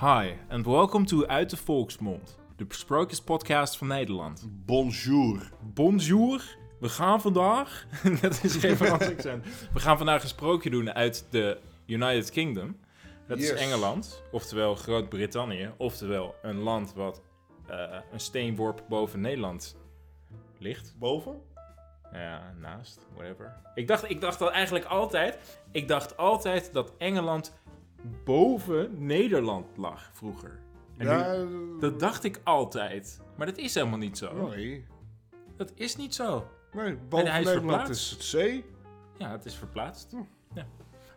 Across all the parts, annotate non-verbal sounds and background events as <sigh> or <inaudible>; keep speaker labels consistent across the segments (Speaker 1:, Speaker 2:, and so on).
Speaker 1: Hi, and welcome to Uit de Volksmond, de besprookjespodcast van Nederland.
Speaker 2: Bonjour.
Speaker 1: Bonjour, we gaan vandaag... <laughs> dat is
Speaker 2: <laughs>
Speaker 1: geen Frans accent. We gaan vandaag een sprookje doen uit de United Kingdom. Dat is
Speaker 2: Yes.
Speaker 1: Engeland, oftewel Groot-Brittannië, oftewel een land wat eh, een steenworp boven Nederland ligt.
Speaker 2: Boven?
Speaker 1: Ja, naast, whatever. Ik dacht, ik dacht dat eigenlijk altijd. Ik dacht altijd dat Engeland boven Nederland lag vroeger. En
Speaker 2: Ja,
Speaker 1: nu-
Speaker 2: eh,
Speaker 1: dat dacht ik altijd. Maar dat is helemaal niet zo.
Speaker 2: nee.
Speaker 1: Dat is niet zo.
Speaker 2: Nee, boven
Speaker 1: hij is
Speaker 2: Nederland
Speaker 1: verplaatst.
Speaker 2: is het zee.
Speaker 1: Ja, het is verplaatst.
Speaker 2: Oh.
Speaker 1: Ja.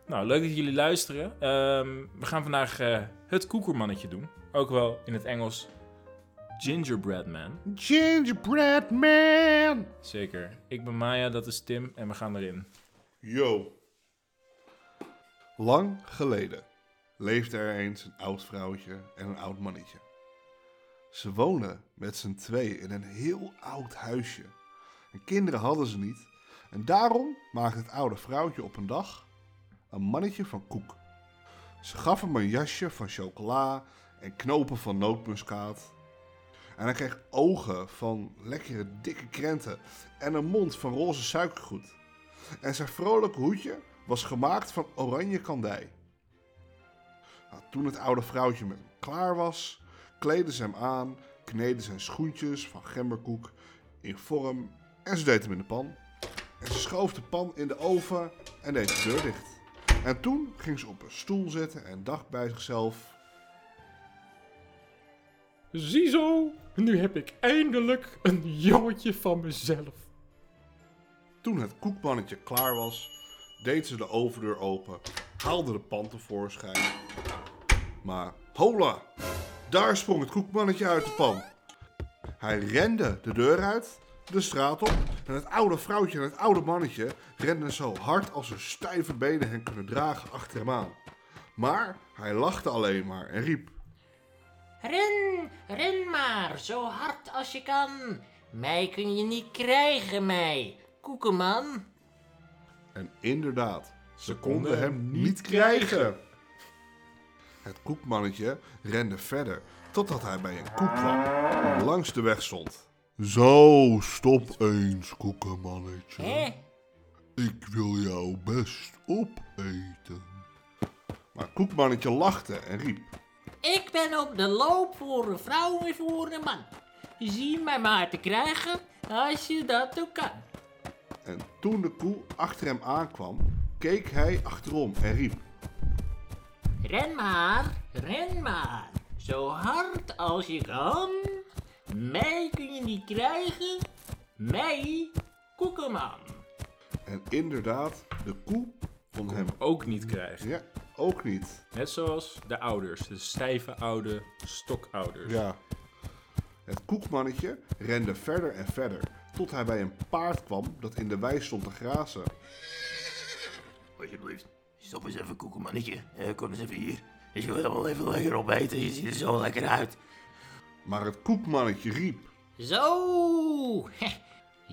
Speaker 1: Nou, leuk dat jullie luisteren. Ehm, we gaan vandaag eh, het koekermannetje doen. Ook wel in het Engels Gingerbread Man.
Speaker 2: Gingerbread man.
Speaker 1: Zeker. Ik ben Maya, dat is Tim en we gaan erin.
Speaker 2: Yo. Lang geleden leefde er eens een oud vrouwtje en een oud mannetje. Ze woonden met z'n twee in een heel oud huisje. En kinderen hadden ze niet. En daarom maakte het oude vrouwtje op een dag een mannetje van koek. Ze gaf hem een jasje van chocola en knopen van nootmuskaat. En hij kreeg ogen van lekkere dikke krenten en een mond van roze suikergoed en zijn vrolijke hoedje was gemaakt van oranje kandij. Nou, toen het oude vrouwtje met hem klaar was, kleedde ze hem aan, kneedde zijn schoentjes van gemberkoek in vorm en ze deed hem in de pan. En ze schoof de pan in de oven en deed de deur dicht. En toen ging ze op een stoel zitten en dacht bij zichzelf:
Speaker 3: Ziezo, nu heb ik eindelijk een jongetje van mezelf.
Speaker 2: Toen het koekmannetje klaar was, deed ze de overdeur open, haalde de pan tevoorschijn. Maar hola, daar sprong het koekmannetje uit de pan. Hij rende de deur uit, de straat op en het oude vrouwtje en het oude mannetje renden zo hard als hun stijve benen hen kunnen dragen achter hem aan. Maar hij lachte alleen maar en riep.
Speaker 4: Ren, ren maar, zo hard als je kan. Mij kun je niet krijgen, mij. Koekeman.
Speaker 2: En inderdaad, ze konden hem niet krijgen. Het koekmannetje rende verder totdat hij bij een koek kwam die langs de weg stond. Zo, stop eens, koekenmannetje.
Speaker 4: Hé?
Speaker 2: Ik wil jou best opeten. Maar het koekmannetje lachte en riep.
Speaker 4: Ik ben op de loop voor een vrouw en voor een man. Zie mij maar te krijgen als je dat ook kan.
Speaker 2: En toen de koe achter hem aankwam, keek hij achterom en riep.
Speaker 4: Ren maar, ren maar, zo hard als je kan. Mij kun je niet krijgen. Mij, Koekeman.
Speaker 2: En inderdaad, de koe kon hem
Speaker 1: Ook niet krijgen.
Speaker 2: ja, ook niet.
Speaker 1: Net zoals de ouders, de stijve oude stokouders.
Speaker 2: Ja. Het koekmannetje rende verder en verder, tot hij bij een paard kwam dat in de wei stond te grazen.
Speaker 5: Alsjeblieft, stop eens even koekenmannetje. Eh, kom eens even hier. Ik wil helemaal even lekker opeten. Je ziet er zo lekker uit.
Speaker 2: Maar het koekmannetje riep.
Speaker 4: Zo! <laughs>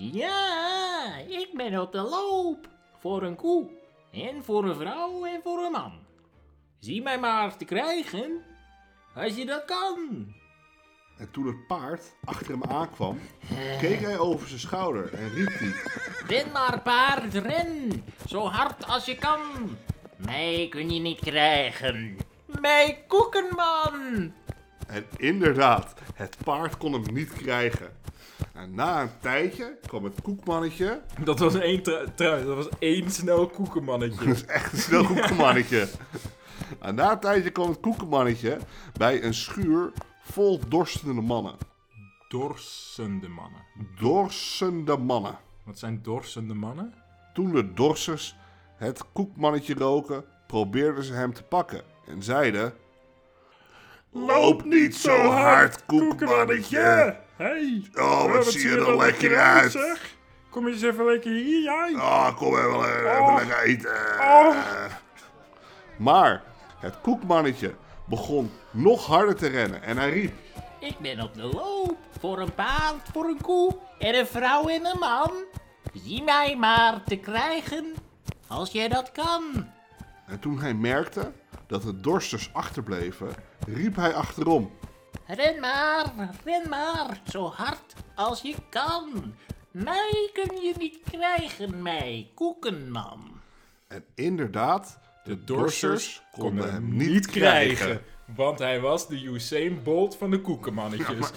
Speaker 4: Ja, ik ben op de loop. Voor een koe. En voor een vrouw en voor een man. Zie mij maar te krijgen. Als je dat kan.
Speaker 2: En toen het paard achter hem aankwam, keek hij over zijn schouder en riep hij.
Speaker 4: Ren maar paard, ren. Zo hard als je kan. Mij kun je niet krijgen. Mij koekenman.
Speaker 2: En inderdaad, het paard kon hem niet krijgen. En na een tijdje kwam het koekmannetje.
Speaker 1: Dat was één tru- trui, dat was één snel koekenmannetje.
Speaker 2: <laughs> Dat is dus echt een snel koekmannetje. En na een tijdje kwam het koekmannetje bij een schuur vol dorstende mannen.
Speaker 1: Dorsende mannen.
Speaker 2: Dorsende mannen.
Speaker 1: Wat zijn dorsende mannen?
Speaker 2: Toen de dorsers het koekmannetje roken, probeerden ze hem te pakken en zeiden: Loop niet zo hard, koekmannetje!
Speaker 1: Hey!
Speaker 2: Oh, wat zie je er lekker uit.
Speaker 1: zeg. Kom eens even lekker hier, jij!
Speaker 2: Oh, kom even, eh, even
Speaker 1: Oh.
Speaker 2: lekker eten.
Speaker 1: Oh.
Speaker 2: Maar het koekmannetje begon nog harder te rennen en hij riep:
Speaker 4: Ik ben op de loop. Voor een paard, voor een koe. En een vrouw en een man. Zie mij maar te krijgen. Als je dat kan.
Speaker 2: En toen hij merkte dat de dorsters achterbleven, riep hij achterom.
Speaker 4: Ren maar, ren maar, zo hard als je kan. Mij kun je niet krijgen, mij, koekenman.
Speaker 2: En inderdaad, de dorsters konden hem niet
Speaker 1: niet
Speaker 2: krijgen.
Speaker 1: krijgen. Want hij was de Usain Bolt van de koekenmannetjes.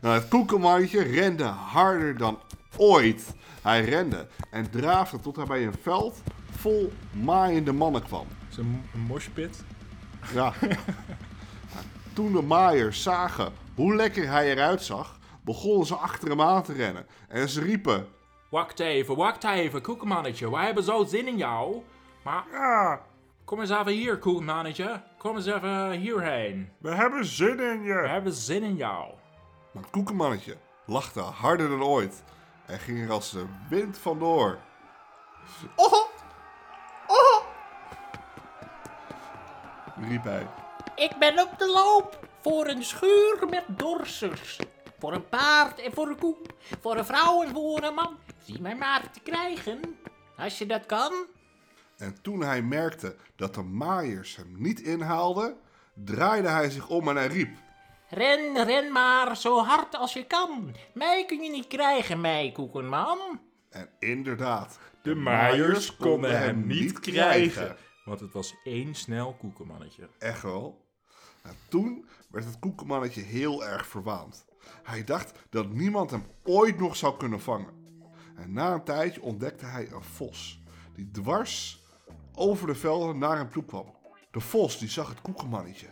Speaker 2: Nou, het koekenmannetje rende harder dan ooit. Hij rende en draafde tot hij bij een veld vol maaiende mannen kwam.
Speaker 1: Het is een, een moshpit.
Speaker 2: <laughs> Ja. Nou, Toen de maaiers zagen hoe lekker hij eruit zag, begonnen ze achter hem aan te rennen. En ze riepen,
Speaker 1: Wacht even, wacht even, koekenmannetje. Wij hebben zo zin in jou. Maar ah, kom eens even hier, koekenmannetje. Kom eens even hierheen.
Speaker 6: We hebben zin in je.
Speaker 1: We hebben zin in jou.
Speaker 2: maar het koekenmannetje lachte harder dan ooit. En ging er als de wind vandoor. Oh! Oh! riep hij.
Speaker 4: Ik ben op de loop voor een schuur met dorsers. Voor een paard en voor een koe. Voor een vrouw en voor een man. Zie mij maar te krijgen, als je dat kan.
Speaker 2: En toen hij merkte dat de maaiers hem niet inhaalden, draaide hij zich om en hij riep.
Speaker 4: Ren, ren maar, zo hard als je kan. Mij kun je niet krijgen, mij, koekenman.
Speaker 2: En inderdaad,
Speaker 1: De maaiers konden hem niet krijgen. Want het was één snel koekenmannetje.
Speaker 2: Echt wel. En toen werd het koekenmannetje heel erg verwaand. Hij dacht dat niemand hem ooit nog zou kunnen vangen. En na een tijdje ontdekte hij een vos die dwars over de velden naar hem toe kwam. De vos die zag het koekenmannetje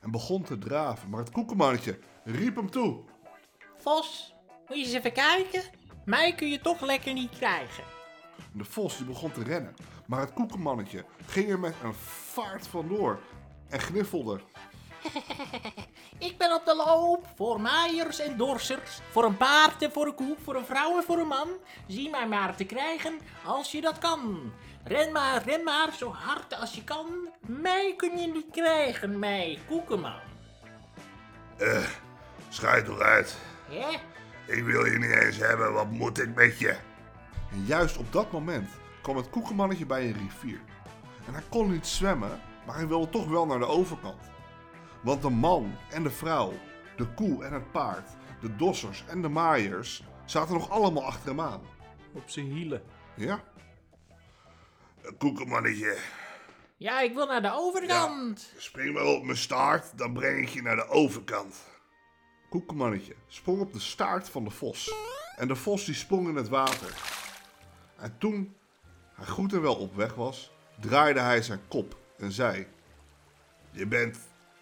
Speaker 2: en begon te draven, maar het koekenmannetje riep hem toe.
Speaker 4: Vos, moet je eens even kijken? Mij kun je toch lekker niet krijgen.
Speaker 2: De vos die begon te rennen, maar het koekenmannetje ging er met een vaart vandoor en gniffelde.
Speaker 4: Ik ben op de loop voor maaiers en dorsers, voor een paard en voor een koe, voor een vrouw en voor een man. Zie mij maar te krijgen als je dat kan. Ren maar, ren maar, zo hard als je kan. Mij kun je niet krijgen, mij, koekenman.
Speaker 5: Schijt eruit.
Speaker 4: Hè?
Speaker 5: Eh, Ik wil je niet eens hebben. Wat moet ik met je?
Speaker 2: En juist op dat moment kwam het koekenmannetje bij een rivier. En hij kon niet zwemmen, maar hij wilde toch wel naar de overkant. Want de man en de vrouw, de koe en het paard, de dossers en de maaiers zaten nog allemaal achter hem aan.
Speaker 1: Op zijn hielen.
Speaker 2: Ja,
Speaker 5: Koekenmannetje,
Speaker 4: Ja, ik wil naar de overkant.
Speaker 5: spring maar op mijn staart, dan breng ik je naar de overkant.
Speaker 2: Koekenmannetje sprong op de staart van de vos. En de vos die sprong in het water. En toen hij goed en wel op weg was, draaide hij zijn kop en zei...
Speaker 5: Je bent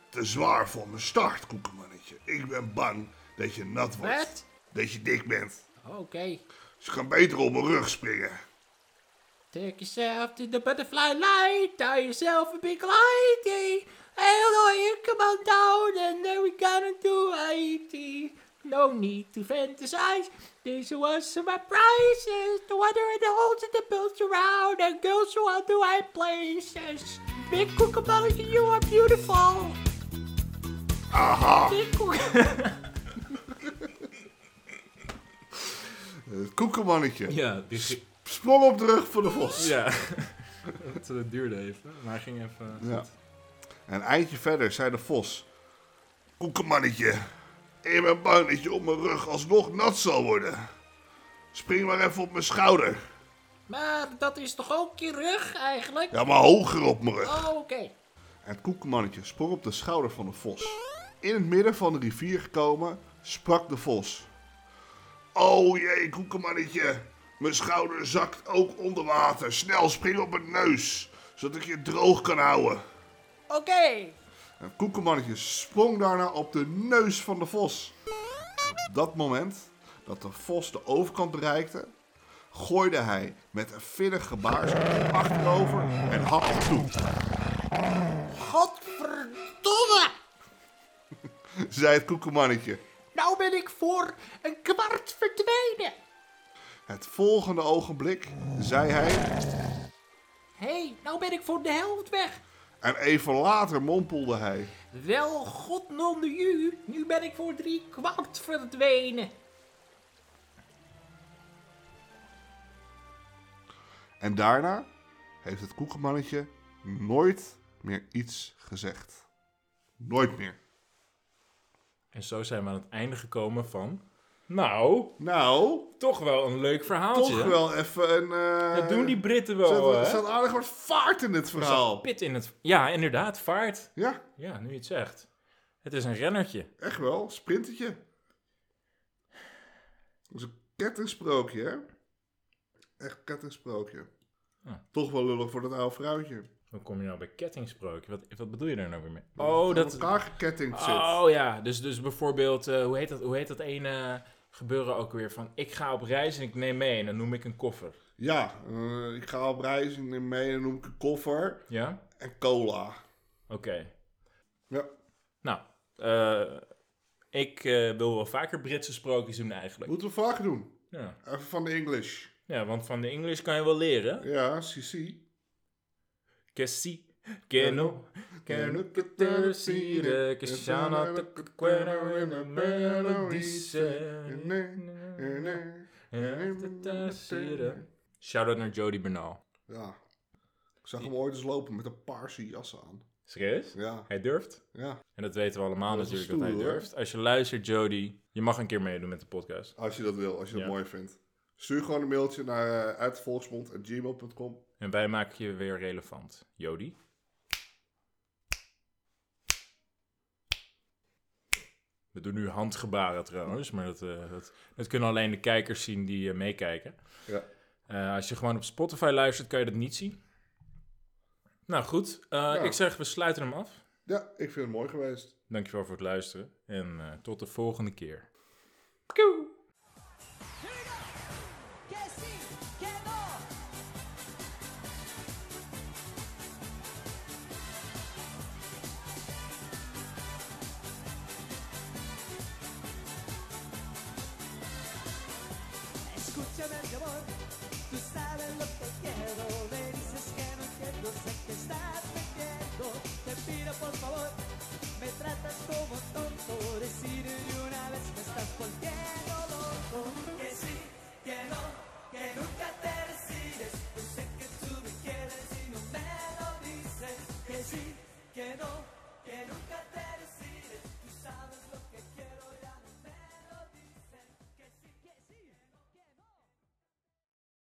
Speaker 5: te zwaar voor mijn staart, koekenmannetje. Ik ben bang dat je nat wordt.
Speaker 4: Wat?
Speaker 5: Dat je dik bent.
Speaker 4: Oké.
Speaker 5: Dus je kan beter op mijn rug springen.
Speaker 4: Take yourself to the butterfly light, tie yourself a big lighty. Hello, you come on down and then we gonna do Haiti. No need to fantasize, this was my prizes. The water in the holes in the built around and girls who are the right places. Big Kookaburra, you are beautiful. Aha. Big Kookaburra.
Speaker 2: Het koekenmannetje
Speaker 1: Ja, die
Speaker 2: sprong op de rug van de vos.
Speaker 1: Dus- <laughs> ja. het eh, duurde even, maar hij ging even...
Speaker 2: Ja. En een eindje verder zei de vos...
Speaker 5: Koekenmannetje, ik ben bang dat je op mijn rug alsnog nat zal worden. Spring maar even op mijn schouder.
Speaker 4: Maar dat is toch ook je rug eigenlijk?
Speaker 5: Ja, maar hoger op mijn rug.
Speaker 4: Oh, Oké.
Speaker 2: En het koekenmannetje sprong op de schouder van de vos. In het midden van de rivier gekomen, sprak de vos.
Speaker 5: Oh jee, koekenmannetje. Mijn schouder zakt ook onder water. Snel spring op mijn neus, zodat ik je droog kan houden.
Speaker 4: Oké.
Speaker 2: En het koekenmannetje sprong daarna op de neus van de vos. Op dat moment dat de vos de overkant bereikte, gooide hij met een vinnig gebaar zijn kop achterover en hakte toe.
Speaker 4: Godverdomme!
Speaker 2: Zei het koekenmannetje.
Speaker 4: Nou ben ik voor een kwart verdwenen.
Speaker 2: Het volgende ogenblik zei hij,
Speaker 4: Hé, hey, nou ben ik voor de helft weg.
Speaker 2: en even later mompelde hij.
Speaker 4: Wel, god non de u, nu ben ik voor drie kwart verdwenen.
Speaker 2: En daarna heeft het koekenmannetje nooit meer iets gezegd.
Speaker 5: Nooit meer.
Speaker 1: En zo zijn we aan het einde gekomen van... Nou,
Speaker 2: Nou,
Speaker 1: toch wel een leuk verhaaltje.
Speaker 2: toch wel even een... eh,
Speaker 1: Dat doen die Britten
Speaker 2: Er
Speaker 1: wel,
Speaker 2: zat- er
Speaker 1: hè?
Speaker 2: zat aardig wat vaart in het verhaal.
Speaker 1: Pit in het... Ja, inderdaad, vaart.
Speaker 2: Ja,
Speaker 1: Ja, nu je het zegt. Het is een rennertje.
Speaker 2: echt wel. Sprintertje. Dat is een kettingsprookje, hè? Echt kettingsprookje.
Speaker 1: Ah.
Speaker 2: Toch wel lullig voor dat oude vrouwtje.
Speaker 1: Hoe kom je nou bij kettingsprookje? Wat, wat bedoel je daar nou weer mee? Oh,
Speaker 2: Dat
Speaker 1: dat...
Speaker 2: elkaar gekettingd zit.
Speaker 1: Oh ja, dus, dus bijvoorbeeld, eh, hoe, heet dat, hoe heet dat ene gebeuren ook weer? Van ik ga op reis en ik neem mee en dan noem ik een koffer.
Speaker 2: Ja, eh, ik ga op reis en neem mee en noem ik een koffer
Speaker 1: Ja?
Speaker 2: en cola.
Speaker 1: Oké.
Speaker 2: Ja,
Speaker 1: Nou, eh, ik eh, wil wel vaker Britse sprookjes doen eigenlijk.
Speaker 2: moeten we vaak doen.
Speaker 1: Ja.
Speaker 2: Even van de English.
Speaker 1: ja, want van de Engels kan je wel leren.
Speaker 2: Ja, CC.
Speaker 1: Kessie, keno, keno, ketersire, keshana, tekwena, melodice. Shout-out naar Jody Bernal.
Speaker 2: Ja. Ik zag hem ooit eens lopen met een paarse jas aan.
Speaker 1: Serieus?
Speaker 2: Ja,
Speaker 1: Hij durft.
Speaker 2: ja.
Speaker 1: En dat weten we allemaal
Speaker 2: Dat is
Speaker 1: natuurlijk dat
Speaker 2: stoer,
Speaker 1: hij
Speaker 2: hoor.
Speaker 1: durft. Als je luistert, Jody, je mag een keer meedoen met de podcast.
Speaker 2: Als je dat wil, als je dat
Speaker 1: Ja.
Speaker 2: mooi vindt. Stuur gewoon een mailtje naar eh, uitvolksmond.gmail.com.
Speaker 1: En wij maken je weer relevant. Jody? We doen nu handgebaren trouwens, maar dat, eh, dat, dat kunnen alleen de kijkers zien die eh, meekijken.
Speaker 2: Ja.
Speaker 1: Eh, als je gewoon op Spotify luistert, kan je dat niet zien. Nou goed, eh, ik zeg we sluiten hem af.
Speaker 2: Ja, ik vind het mooi geweest.
Speaker 1: Dankjewel voor het luisteren en eh, tot de volgende keer.
Speaker 6: Que sí, que no. Escúchame, mi amor, tú sabes lo que quiero. Me dices que no entiendo, sé que estás mintiendo. Te pido por favor, me tratas como tonto. Decir de una vez me estás volviendo loco. Que sí, que no, que nunca te decides. Yo sé que tú me quieres y no me lo dices. Que sí, que no.